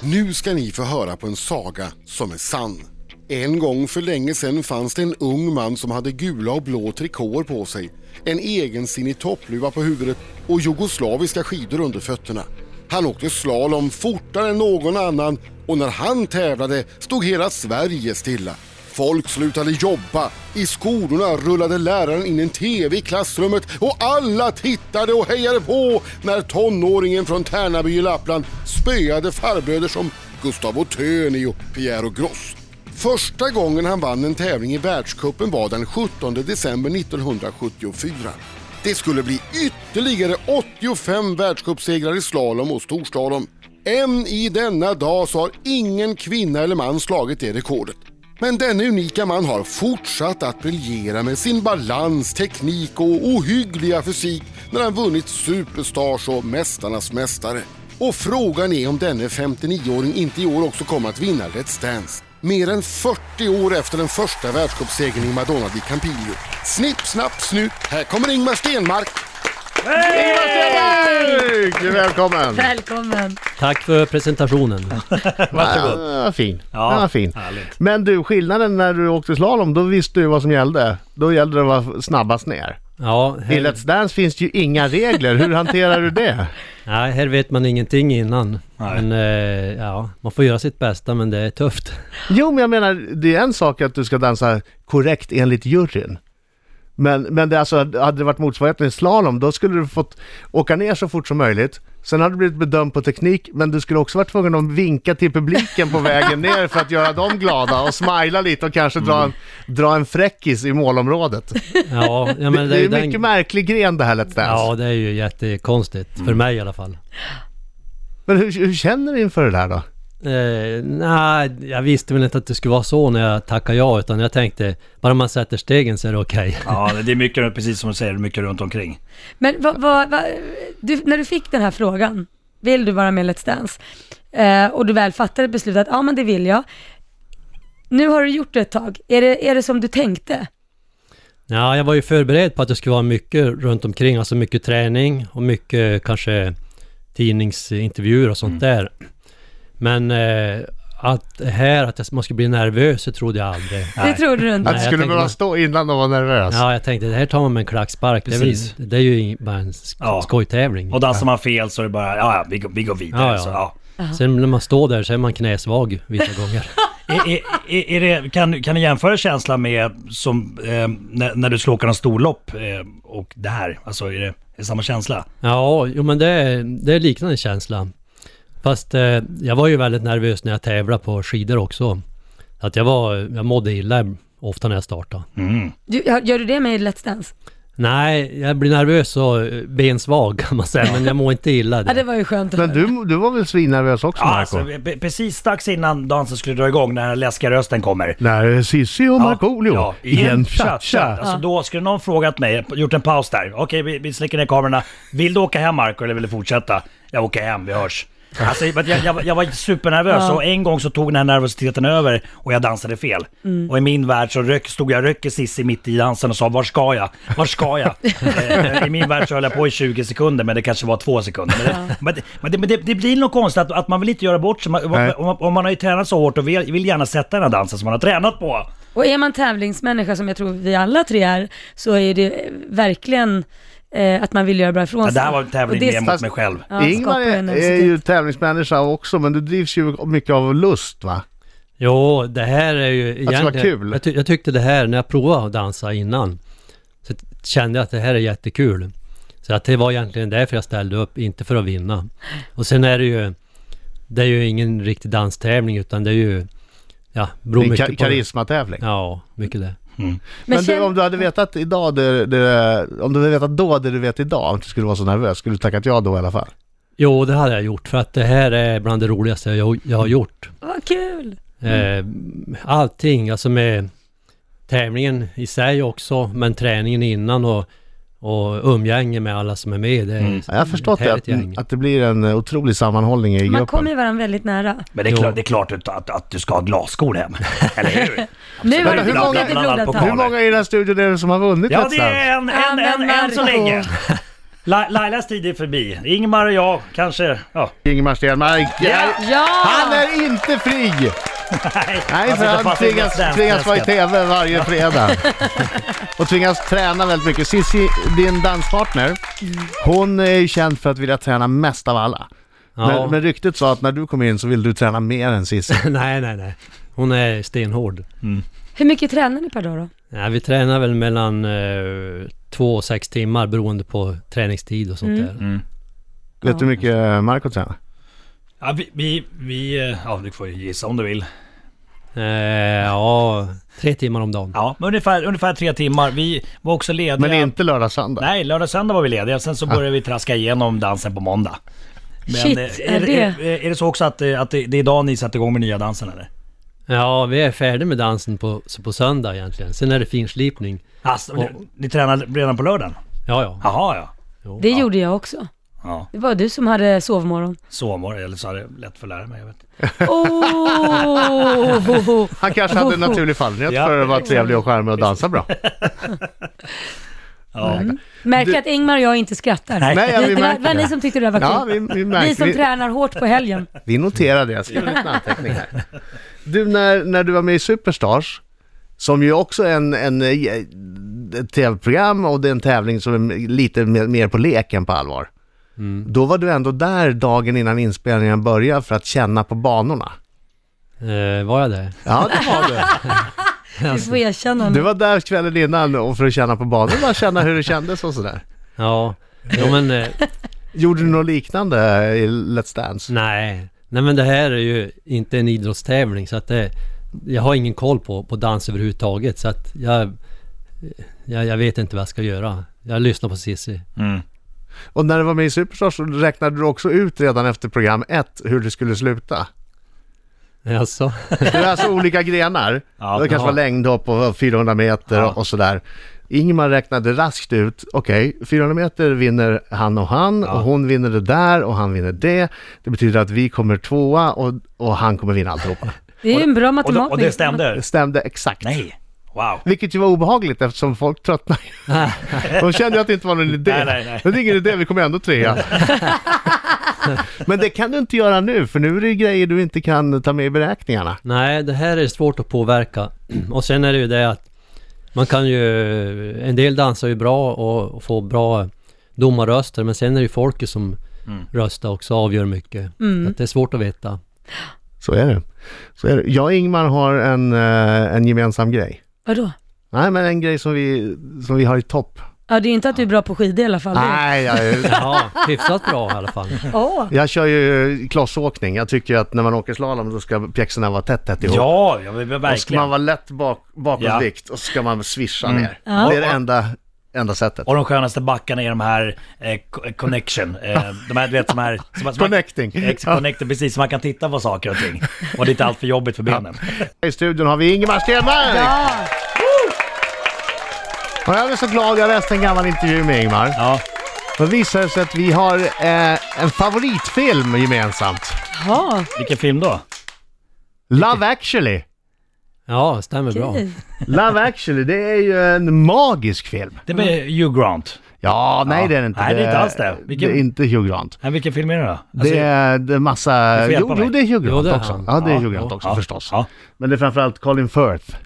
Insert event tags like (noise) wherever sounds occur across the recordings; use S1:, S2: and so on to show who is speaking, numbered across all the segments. S1: Nu ska ni få höra på en saga som är sann. En gång för länge sedan fanns det en ung man som hade gula och blå trikåer på sig, en egensinnig toppluva på huvudet och jugoslaviska skidor under fötterna. Han åkte slalom fortare än någon annan och när han tävlade stod hela Sverige stilla. Folk slutade jobba, i skolorna rullade läraren in en TV i klassrummet och alla tittade och hejade på när tonåringen från Tärnaby i Lappland spöade farbröder som Gustavo Töni och Piero Gross. Första gången han vann en tävling i världscupen var den 17 december 1974. Det skulle bli ytterligare 85 världscupsegrar i slalom och storslalom. Än i denna dag så har ingen kvinna eller man slagit det rekordet. Men denne unika man har fortsatt att briljera med sin balans, teknik och ohyggliga fysik när han vunnit Superstars och Mästarnas mästare. Och frågan är om denne 59-åring inte i år också kommer att vinna Let's Dance. Mer än 40 år efter den första världscupsegern i Madonna di Campiglio. Snipp, snapp, snut, här kommer Ingmar Stenmark!
S2: Snygg! Välkommen!
S3: (laughs) Välkommen!
S4: Tack
S2: (laughs)
S4: för presentationen.
S2: Ja,
S4: Varsågod.
S2: Den var fin.
S4: Ja,
S2: den var fin.
S4: härligt.
S2: Men du, skillnaden när du åkte slalom, då visste du vad som gällde. Då gällde det att vara snabbast ner.
S4: Ja,
S2: I
S4: här,
S2: Let's Dance finns ju inga regler. Hur hanterar du det?
S4: nej, här vet man ingenting innan.
S5: Nej.
S4: Men eh, ja, man får göra sitt bästa men det
S2: (laughs)
S4: är tufft.
S2: Jo, men jag menar, det är en sak att du ska dansa korrekt enligt juryn. Men, men det är alltså, hade det varit motsvarigheten i slalom, då skulle du fått åka ner så fort som möjligt. Sen hade du blivit bedömd på teknik, men du skulle också varit tvungen att vinka till publiken på
S4: (laughs)
S2: vägen ner för att göra dem glada och smila lite och kanske dra, en, dra en fräckis i målområdet.
S4: Mm. Ja, ja men
S2: det, det är ju
S4: den-
S2: mycket märklig gren det här Let's Dance.
S4: Ja, det är ju jättekonstigt.
S2: Mm.
S4: För mig i alla fall.
S2: Men hur, hur känner du inför det där då?
S4: Eh, nej, jag visste väl inte att det skulle vara så när jag tackade ja, utan jag tänkte bara man sätter stegen så är det okej.
S5: Ja, det är mycket, precis som du säger, mycket runt omkring.
S3: Men vad, vad, vad, du, när du fick den här frågan, vill du vara med i Let's Dance? Eh, och du väl fattade beslutet, ja men det vill jag. Nu har du gjort det ett tag, är det, är det som du tänkte?
S4: Ja, jag var ju förberedd på att det skulle vara mycket runt omkring, alltså mycket träning och mycket kanske tidningsintervjuer och sånt
S5: Mm.
S4: där. Men eh, att här, att jag- man skulle bli nervös, det trodde jag aldrig.
S3: Det trodde du inte?
S2: Att du
S4: jag
S2: skulle
S4: tänker
S2: behöva
S4: man-
S2: stå innan och vara nervös?
S4: Ja, jag tänkte det här tar man med en klackspark. Det är, väl,
S5: Precis.
S4: det är ju ing- bara en sk-
S5: Ja.
S4: skojtävling.
S5: Och dansar man fel så är det bara, ja, ja vi, går, vi går vidare.
S4: Ja, ja.
S5: Så, ja.
S4: Sen när man står där så är man knäsvag
S5: (laughs)
S4: vissa gånger.
S5: Är, är, är, är det, kan, kan du jämföra känslan med som, eh, när, när du skulle åka någon storlopp eh, och det här? Alltså är det, är det samma känsla?
S4: Ja, jo men det är, det är liknande känsla. Fast eh, jag var ju väldigt nervös när jag tävlade på skidor också. Att jag var, jag mådde illa ofta när jag startade.
S3: Du, gör gör du det med i Let's Dance?
S4: Nej, jag blir nervös och eh, bensvag (laughs) kan man säga, men jag mår inte illa.
S3: Ja, det
S4: Det.
S3: var ju skönt att
S2: Men
S3: höra.
S2: du, du var väl svinnervös också
S5: Ja,
S2: Marco?
S5: alltså, pre- precis strax innan dansen skulle dra igång, när den här läskiga rösten kommer.
S2: När Cissi och Markoolio
S5: ja,
S2: i en cha-cha.
S5: Alltså då skulle någon frågat mig, gjort en paus där. Okej, vi, vi släcker ner kamerorna. Vill du åka hem Marco eller vill du fortsätta? Jag åker hem, vi hörs. Alltså, jag, jag, var- jag var supernervös
S3: Ja.
S5: och en gång så tog den här nervositeten över och jag dansade fel. Och i min värld så rök, stod jag och röker Cissi mitt i dansen och sa var ska jag? Var ska jag? Eh, I min värld så höll jag på i 20 sekunder men det kanske var två sekunder. Men det, men det, men det, men det, det blir nog konstigt att, att man vill inte göra bort sig. Man, om,
S2: Nej.
S5: man, om man har ju tränat så hårt och vill, vill gärna sätta den här dansen som man har tränat på.
S3: Och är man tävlingsmänniska, som jag tror vi alla tre är, så är det eh, verkligen eh, att man vill göra bra ifrån
S5: Ja,
S3: sig.
S5: det här var en tävling
S3: Och det-
S5: mer mot mig själv.
S3: Ja,
S2: Ingmar
S3: skapar ju en
S2: är, är
S3: nervositet.
S2: ju tävlingsmänniska också, men du drivs ju mycket av lust va?
S4: Jo, det här är ju
S2: ska
S4: egentligen...
S2: vara kul.
S4: Jag, ty- jag tyckte det här, när jag provade att dansa innan, så t- kände jag att det här är jättekul. Så att det var egentligen därför jag ställde upp, inte för att vinna. Och sen är det ju... Det är ju ingen riktig danstävling, utan det är ju... Ja, beror
S2: Din
S4: mycket
S2: ka-
S4: på...
S2: karismatävling.
S4: Ja, mycket det.
S2: Men,
S3: Men
S2: du,
S3: känn-
S2: om du hade vetat idag det, det, om du hade vetat då det du vet idag, om du skulle vara så nervös, skulle du tackat ja då i alla fall?
S4: Jo, det hade jag gjort, för att det här är bland det roligaste jag, jag har gjort.
S3: Vad kul!
S4: Eh, allting, alltså med tävlingen i sig också, men träningen innan och, och umgänge med alla som är med. Det är
S5: Mm.
S2: Ja, jag har förstått
S4: ett
S2: det,
S4: härligt
S2: att,
S4: gäng.
S2: att det blir en eh, otrolig sammanhållning i gruppen.
S3: Man kommer ju varandra väldigt nära.
S5: Men det är,
S4: Jo.
S5: klart, det är klart att, att, att du ska ha glasskor hem. Eller hur?
S3: Nu har
S2: Vänta,
S3: det
S2: hur
S3: blivit
S2: många-
S3: lite blodad
S5: Bland
S3: tand.
S2: Hur många i den här studion är det som har vunnit
S5: Ja,
S2: Let's
S5: det
S2: Dance?
S5: är en,
S3: Ja,
S5: en,
S3: men
S5: en, en så
S3: Marco.
S5: länge. La- Lailas tid är förbi. Ingmar och jag kanske... Ja.
S2: Ingemar Stenmark.
S3: Ja!
S2: Han är inte fri! Nej, för
S5: sitter
S2: han
S5: fast i
S2: tvingas,
S5: Let's Dance
S2: tvingas vara i
S5: träsket.
S2: TV varje fredag. Och tvingas träna väldigt mycket. Cissi, din danspartner, hon är ju känd för att vilja träna mest av alla.
S4: Ja.
S2: Men, men ryktet sa att när du kom in så ville du träna mer än Cissi.
S4: (laughs) nej, nej, nej. Hon är stenhård.
S3: Hur mycket tränar ni per dag då?
S4: Nej, vi tränar väl mellan eh, två och sex timmar beroende på träningstid och sånt
S3: Mm.
S4: där.
S2: Vet du hur mycket eh, Marco tränar?
S5: Ja, vi, vi, vi... eh, Ja, du får ju gissa om du vill.
S4: Eh, ja, tre timmar om dagen.
S5: Ja, men ungefär, ungefär tre timmar. Vi var också lediga...
S2: Men inte lördag-söndag.
S5: Nej, lördag och söndag var vi lediga. Sen så började vi traska igenom dansen på måndag.
S3: Shit,
S5: eh,
S3: är det-
S5: Är, är det så också att, eh, att det, det är idag ni sätter igång med nya dansen eller?
S4: Ja, vi är färdiga med dansen på, på söndag egentligen. Sen är det finslipning.
S5: Alltså, ni, ni tränar redan på lördagen?
S4: Ja, ja.
S5: Jaha, ja.
S3: Det gjorde jag också.
S5: Ja,
S3: Det var du som
S2: (laughs)
S3: hade sovmorgon.
S5: sovmorgon. Eller så är det lätt för att lära mig. Jag vet. inte.
S3: Oh!
S2: Han kanske hade en naturlig fallenhet
S5: Ja,
S2: för att vara trevlig och charmig och dansa bra.
S5: Ja.
S3: Märker att Ingmar och jag inte skrattar.
S5: Nej.
S2: Nej, ja,
S3: det,
S2: vi
S3: det var, var
S2: märker
S3: ni
S2: det.
S3: som tyckte det där
S2: Ja,
S3: var
S2: vi,
S3: kul.
S2: vi
S3: Ni
S2: märker
S3: som
S2: vi,
S3: tränar hårt på helgen.
S2: vi noterar det. Jag skriver ut en anteckning här. Du, när, när du var med i Superstars, som ju också är en, en, eh, ett tv-program och det är en tävling som är lite mer, mer på lek än på allvar. Då var du ändå där dagen innan inspelningen började för att känna på banorna.
S4: Eh, var jag det?
S2: Ja, det var du.
S3: Du
S5: Alltså,
S3: får erkänna
S2: (laughs) Du
S3: nu.
S2: var där kvällen innan och för att känna på banorna, bara känna hur det kändes och sådär.
S4: Ja. Jo, men eh,
S2: Gjorde du något liknande i Let's Dance?
S4: nej. Nej, men det här är ju inte en idrottstävling så att det, Jag har ingen koll på, på dans överhuvudtaget så att jag, jag... Jag vet inte vad jag ska göra. Jag lyssnar på Cissi.
S2: Mm. Och när du var med i Superstars så räknade du också ut redan efter program ett hur det skulle sluta.
S4: Alltså.
S2: Det var alltså olika grenar.
S5: Ja,
S2: det kanske
S5: ja.
S2: var längdhopp och 400 meter
S5: Ja.
S2: och sådär. Ingmar räknade raskt ut, okej, 400 meter vinner han och han och hon vinner det där och han vinner det. Det betyder att vi kommer tvåa och, och han kommer vinna
S5: (laughs)
S2: alltihopa.
S3: Det är ju en bra
S5: Och, då,
S3: matematik.
S5: och det stämde?
S2: Det stämde exakt.
S5: Nej. Wow.
S2: Vilket ju var obehagligt eftersom folk
S5: (laughs)
S2: tröttnade. De kände ju att det inte var någon idé.
S5: Nej, nej, nej.
S2: Men det är ingen idé, vi kommer ändå
S5: (laughs)
S2: trea. Men det kan du inte göra nu, för nu är det ju grejer du inte kan ta med i beräkningarna.
S4: (laughs) Nej, det här är svårt att påverka. (clears throat) Och sen är det ju det att man kan ju... En del dansar ju bra och får bra domarröster men sen är det ju folket som röstar också avgör mycket. Så att det är svårt att veta.
S2: Så är det. Så är det. Jag och Ingmar har en, eh, en gemensam grej.
S3: Vadå?
S2: Nej, men en grej som vi, som vi har i topp.
S3: Ja, det är ju inte att du är bra på skidor i alla fall.
S2: Nej, jag,
S3: (laughs)
S4: Ja, (laughs) hyfsat bra i alla fall.
S3: Åh,
S2: jag kör ju klossåkning. Jag tycker ju att när man åker slalom då ska pjäxorna vara tätt, tätt ihop.
S5: Ja, ja men
S2: och ska man
S5: verkligen. Mm.
S2: vara lätt bak, bakåtvikt och så ska man swisha ner. Det är det enda, enda sättet.
S5: Och de skönaste backarna är de här eh, co- connection. Eh, de här, du vet, som här... Som, som
S2: Connecting.
S5: Ex- connecting, precis. Så man kan titta på saker och ting. Och det är inte allt för jobbigt för benen.
S2: I studion har vi Ingemar Stenmark!
S3: ja.
S2: Och jag är så glad, jag läste en gammal intervju med Ingemar.
S5: Ja.
S2: Då visar det sig att vi har eh, en favoritfilm gemensamt.
S3: Ja,
S5: Vilken film då?
S2: Love actually.
S4: Ja, stämmer bra.
S3: okej.
S2: Love actually, det är ju en magisk film.
S5: Det är
S2: Mm.
S5: Hugh Grant.
S2: Ja, nej
S5: Ja.
S2: det är det inte.
S5: Nej, det är inte alls det. Vilken-
S2: Det är inte Hugh Grant.
S5: Nej, vilken film är det då? Alltså,
S2: Det är, det är massa...
S5: Du får hjälpa
S2: Jo,
S5: mig.
S2: jo, det är Hugh
S4: Jo,
S2: Grant
S4: det är
S2: också.
S4: han.
S2: Ja, det är
S5: Ja,
S2: Hugh Grant också
S5: ja,
S2: förstås.
S5: ja.
S2: Men det är framförallt Colin Firth.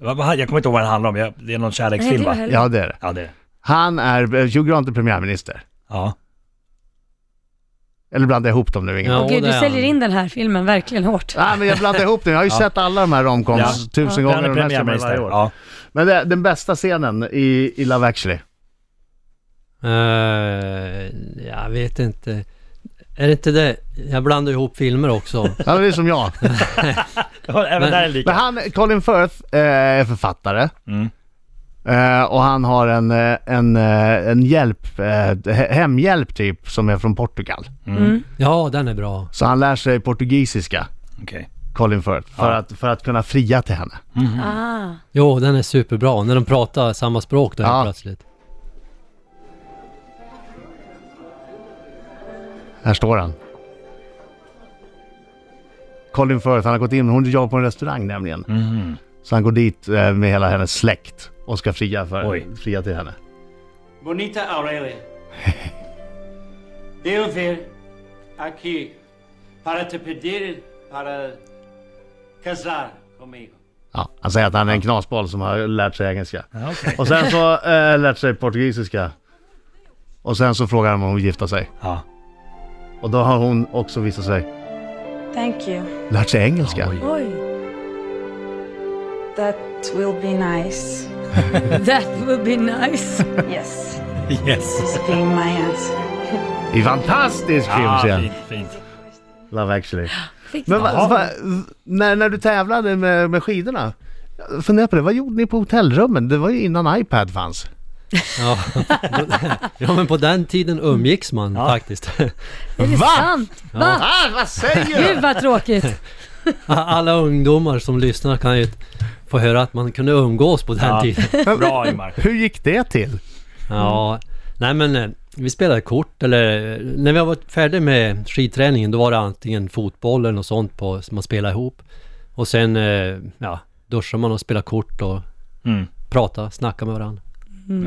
S5: Vad- vad- Jag kommer inte ihåg vad den handlar om. Jag- Det är någon
S3: Nej,
S5: kärleksfilm
S3: det var
S5: va?
S3: heller.
S2: Ja, det är det.
S5: Ja, det är det.
S2: Han är... Hugh Grant är premiärminister.
S5: Ja.
S2: Eller blandar jag ihop dem nu, Ingemar?
S4: Ja,
S3: Åh gud,
S4: det
S3: du
S4: är han.
S3: säljer in den här filmen verkligen hårt.
S2: Nej, men jag blandar ihop den. Jag har ju sett alla de här romcoms
S5: Ja.
S2: tusen
S5: Den
S2: gånger.
S5: är
S2: och de här ser man varje
S5: premiärminister.
S2: år.
S5: Ja.
S2: Men det, den bästa scenen i, i Love actually?
S4: Eh, jag vet inte. Är det inte det? Jag blandar ihop filmer
S5: (laughs)
S4: också.
S2: Ja, det är som jag.
S5: Även
S4: Men-
S5: där är det
S2: Men
S5: lika.
S2: han, Colin Firth eh, är författare.
S5: Mm.
S2: Eh, och han har en, eh, en, eh, en hjälp, eh, he- hemhjälp typ, som är från Portugal.
S3: Mm.
S4: Ja, den är bra.
S2: Så han lär sig portugisiska,
S5: Okej.
S2: Colin Firth, för,
S5: Ja.
S2: att, för att kunna fria till henne.
S3: Ah.
S4: Jo, den är superbra. När de pratar samma språk där
S2: Ja.
S4: plötsligt.
S2: Här står han. Colin Firth, han har gått in, hon jobbar på en restaurang nämligen.
S5: Mhm.
S2: Så han går dit eh, med hela hennes släkt och ska fria, för,
S5: Oj.
S2: fria till henne.
S6: Bonita Aurelia, (laughs) Devo vir aqui para te pedir para casar comigo.
S2: Ja, han säger att han är en knasboll som har lärt sig engelska.
S5: Ja, okej.
S2: Och sen så eh, lärt sig portugisiska. Och sen så frågar han om hon vill gifta sig.
S5: Ja.
S2: Och då har hon också visat sig
S7: Thank you.
S2: lärt sig engelska.
S4: Oj.
S3: Oj.
S7: That will be nice.
S3: That would be nice.
S7: Yes,
S5: Yes.
S7: it's been my answer.
S2: I fantastisk film
S5: Ja,
S2: ser jag.
S5: Ah, fint, fint.
S2: Love actually.
S3: Fick
S2: Men
S3: det.
S2: va, va, när, när du tävlade med, med skidorna, fundera på det, vad gjorde ni på hotellrummen? Det var ju innan iPad fanns.
S4: Ja. ja, men på den tiden umgicks man
S5: Ja.
S4: faktiskt. (laughs)
S3: Är det
S2: Va?
S3: sant? Va?
S2: Ah, vad säger
S3: Gud vad tråkigt.
S4: Alla ungdomar som lyssnar kan ju få höra att man kunde umgås på den
S5: Ja.
S4: tiden.
S5: Bra Ingmar.
S2: (laughs) Hur gick det till?
S4: Ja, nej men eh, vi spelade kort eller eh, när vi var färdiga med skidträningen då var det antingen fotbollen och sånt på som man spelade ihop. Och sen, eh, ja, duschade man och spelade kort och
S5: Mm.
S4: pratade, snackade med varandra.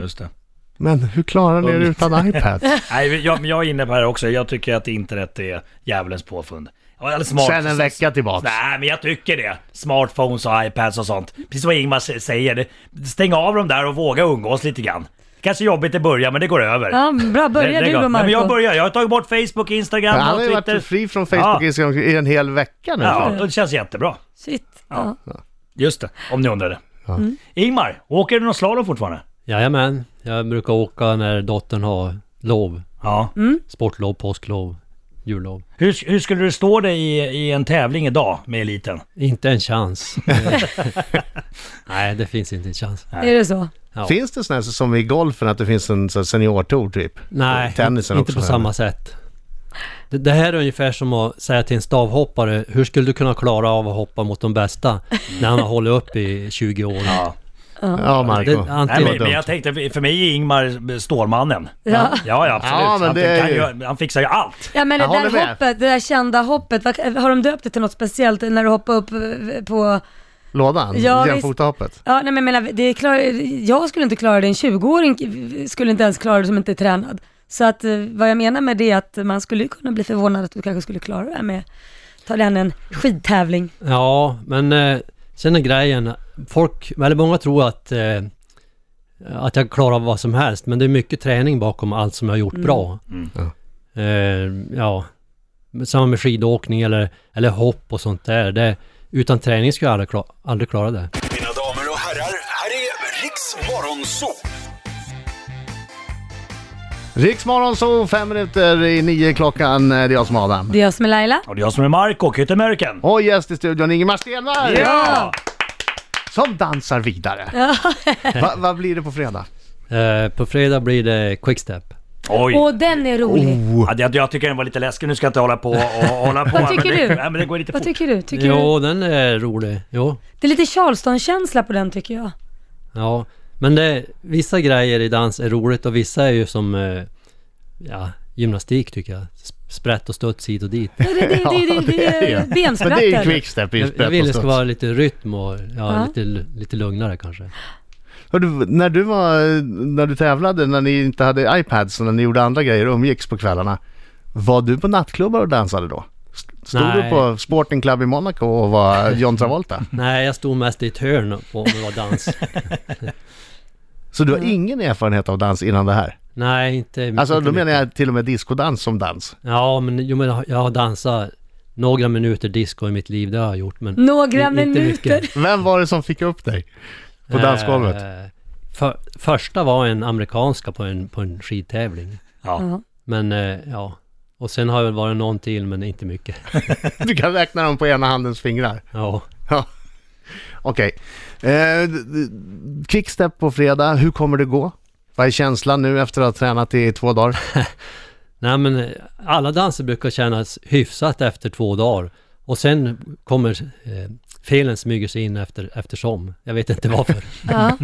S5: Just det.
S2: Men hur klarar ni er utan
S5: (laughs)
S2: iPad?
S5: Nej, vi- jag, men jag är inne på det här också. Jag tycker att internet är djävulens påfund. Ja, eller smart-
S2: Sen en vecka tillbaks.
S5: Nej, men jag tycker det. Smartphones och iPads och sånt. Precis vad Ingmar s- säger. Det- Stäng av dem där och våga umgås lite grann. Kanske jobbigt i början, men det går över.
S3: Ja, bra. Börja
S5: Det-
S3: du
S5: det går-
S3: då
S5: Nej, men
S3: Marco.
S5: Jag börjar. Jag har tagit bort Facebook, Instagram
S2: Han
S5: och
S2: har ju
S5: Twitter.
S2: varit fri från Facebook
S5: Ja.
S2: Instagram i en hel vecka nu.
S5: Ja, och det känns jättebra.
S3: Shit. Ja.
S5: Just det, om ni undrade.
S3: Mm.
S5: Ingmar, åker du någon slalom fortfarande?
S4: Jajamän, jag brukar åka när dottern har lov.
S5: Ja.
S3: Mm.
S4: Sportlov, påsklov, jullov.
S5: Hur, hur skulle du stå dig i, i en tävling idag med eliten?
S4: Inte en chans. nej, det finns inte en chans.
S3: Är det så?
S4: Ja.
S2: Finns det sådana här som i golfen att det finns en sån här seniortour typ?
S4: Nej,
S2: Tennisen
S4: inte
S2: också,
S4: på samma sätt. Det, det här är ungefär som att säga till en stavhoppare, hur skulle du kunna klara av att hoppa mot
S2: (laughs)
S4: de bästa när han har hållit upp i 20 år?
S5: Ja.
S2: Ja,
S4: Det,
S2: Marco.
S5: Nej,
S4: antingen,
S5: men,
S2: dumt.
S5: men jag tänkte, för för mig är Ingmar Stålmannen.
S3: Ja.
S5: Ja, ja absolut.
S2: Ja, men
S5: han,
S2: det är
S5: kan
S2: ju-
S5: ju, han fixar ju allt.
S3: Ja men det
S2: Jag
S3: där
S2: håller med.
S3: hoppet, det där kända hoppet, vad- har de döpt det till något speciellt när du hoppar upp eh, på...
S2: Lådan?
S3: Ja,
S2: Jämfotahoppet?
S3: Ja nej men jag menar, det är klar... jag skulle inte klara det, en 20-åring skulle inte ens klara det som inte är tränad. Så att eh, vad jag menar med det är att man skulle ju kunna bli förvånad att du kanske skulle klara det här med, ta dig an en skidtävling.
S4: ja, men eh, sen är grejen, folk, eller många tror att, eh, att jag klarar av vad som helst, men det är mycket träning bakom allt som jag har gjort bra.
S5: Mm.
S4: Eh, ja, samma med skidåkning eller, eller hopp och sånt där. Det, utan träning skulle jag aldrig, kla- aldrig klara det.
S8: Mina damer och herrar, här är Riks Morgonzoo!
S2: Riksmorgon så fem minuter i nio klockan. eh, Det är jag som är Adam.
S3: Det är jag som är Laila.
S5: Och det är jag som är Marco, Kyttemörken.
S2: Och gäst i studion Ingemar Stenberg!
S5: Ja!
S2: Som dansar
S3: (laughs)
S2: vidare. Va, vad blir det på fredag?
S4: Eh, på fredag blir det quickstep.
S5: Oj.
S3: Och den är rolig.
S5: Ja, det, jag tycker den var lite läskig, nu ska jag inte hålla på och och hålla på.
S3: Vad tycker
S5: men det,
S3: du?
S5: Nej, men det går lite
S3: Vad
S5: fort.
S3: tycker du? Tycker du?
S4: Jo, den är rolig. Jo.
S3: Det är lite Charleston-känsla på den tycker jag.
S4: Ja. Men det, vissa grejer i dans är roligt och vissa är ju som eh, ja, gymnastik tycker jag. Sp- Sprätt och studs hit och dit.
S3: Det, det, det, det, det, det
S2: Men
S3: är
S2: det är ju
S3: bensprattel.
S2: quickstep i
S4: Jag, jag
S2: sprätt
S4: vill
S2: och
S4: det ska
S2: studs.
S4: vara lite rytm och ja,
S3: Ja.
S4: Lite, lite lugnare kanske.
S2: Hördu, när du var, eh, när du tävlade, när ni inte hade iPads och när ni gjorde andra grejer och umgicks på kvällarna. Var du på nattklubbar och dansade då? St- Stod
S4: Nej.
S2: du på Sporting Club i Monaco och var John Travolta?
S4: Nej, jag stod mest i ett hörn och- om det var dans.
S2: Så du har ingen erfarenhet av dans innan det här?
S4: Nej, inte
S2: Alltså
S4: inte
S2: då menar
S4: mycket.
S2: jag till och med diskodans som dans.
S4: Ja, men, jo, men jag har- jag har dansat några minuter disco i mitt liv, det har jag gjort. Men
S3: Några
S4: i- inte mycket.
S3: minuter.
S2: Vem var det som fick upp dig? På
S4: Eh,
S2: dansgolvet?
S4: för, första var en amerikanska på en, på en skidtävling.
S5: Ja.
S4: Men eh, ja, och sen har det väl varit någon till men inte mycket. (laughs)
S2: Du kan räkna dem på ena handens fingrar.
S4: Ja.
S2: Ja. Okej. Eh, d- d- quickstep på fredag, hur kommer det gå? Vad är känslan nu efter att ha tränat i två dagar?
S4: Nej men eh, alla danser brukar kännas hyfsat efter två dagar. Och sen kommer eh, felen smyger sig in efter, eftersom. Jag vet inte varför.
S3: Ja.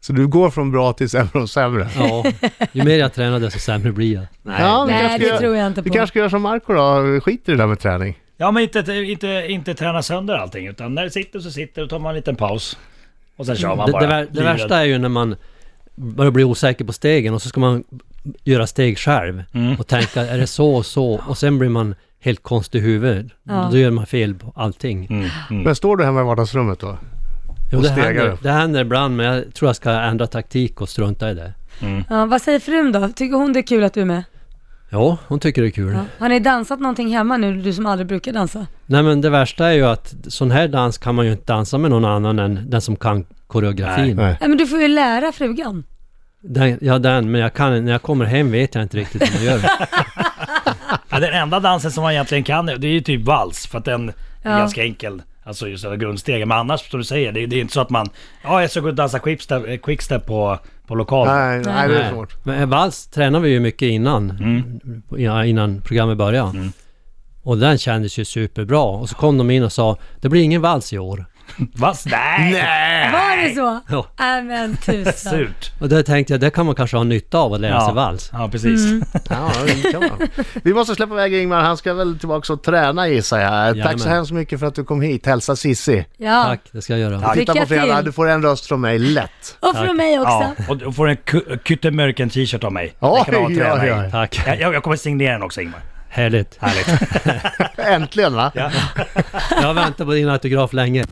S2: Så du går från bra till sämre och sämre?
S4: Ja, ju mer jag tränar desto sämre blir jag. Nej.
S2: Ja, du
S3: Nej,
S2: kanske
S3: det
S2: gör-
S3: tror jag inte
S2: Du
S3: på.
S2: kanske ska göra som Marco då, skiter i det där med träning.
S5: ja, men inte, inte, inte träna sönder allting, utan när det sitter så sitter och tar man en liten paus. Och sen kör man
S4: Det,
S5: bara.
S4: det, vär- det
S5: Livrädd.
S4: värsta är ju när man börjar bli osäker på stegen och så ska man göra steg själv
S5: Mm.
S4: och tänka är det så och så och sen blir man helt konstig i huvudet.
S3: Ja.
S4: Då gör man fel på allting.
S5: Mm, mm.
S2: Men står du hemma i vardagsrummet då?
S4: Jo,
S2: Och
S4: det,
S2: stegar
S4: händer,
S2: upp.
S4: det händer ibland men jag tror jag ska ändra taktik och strunta i det.
S3: Ja, vad säger frun då? Tycker hon det är kul att du är med?
S4: Ja, hon tycker det är kul.
S3: Ja. Har ni dansat någonting hemma nu, du som aldrig brukar dansa?
S4: Nej men det värsta är ju att sån här dans kan man ju inte dansa med någon annan än den som kan koreografin.
S2: Nej.
S3: Nej men du får ju lära frugan.
S4: Den, ja den, men jag kan, när jag kommer hem vet jag inte riktigt hur man gör.
S5: Ja, den enda dansen som man egentligen kan, det är ju typ vals, för att den
S3: Ja.
S5: är ganska enkel. Alltså just den grundstegen. Men annars, som du säger, det, det är inte så att man... Ja, jag ska gå och dansa quickstep, eh, quickstep på, på lokalen.
S2: Nej, nej, det är svårt.
S4: Men eh, vals tränar vi ju mycket innan, ja, innan programmet började. Och den kändes ju superbra. Och så kom de in och sa, det blir ingen vals i år.
S5: Vals? Nej!
S3: Var det så?
S4: Ja.
S3: Nej men
S4: (laughs)
S3: tusan.
S5: Surt.
S4: Och där tänkte jag, det kan man kanske ha nytta av att lära sig alltså vals.
S5: Ja, precis.
S3: Mm,
S2: Ja, det kan man. Vi måste släppa iväg Ingmar, han ska väl tillbaka och träna gissar jag. Tack så
S4: Jajamän.
S2: hemskt mycket för att du kom hit. Hälsa Sissi.
S3: Ja.
S4: Tack, det ska jag göra.
S3: Tack.
S2: Titta
S3: Lycka
S2: på fredag,
S3: till.
S2: du får en röst från mig lätt.
S3: Och från
S4: Tack.
S3: mig också.
S5: Ja, och du får en ku- Kyttemörken t-shirt av mig.
S2: Oj,
S5: Det kan du ha och träna
S2: oj,
S5: i.
S2: oj.
S4: Tack.
S5: Jag, jag jag kommer signera den också Ingmar.
S4: Härligt.
S5: Härligt.
S2: Äntligen va?
S4: Jag har väntat på din autograf länge.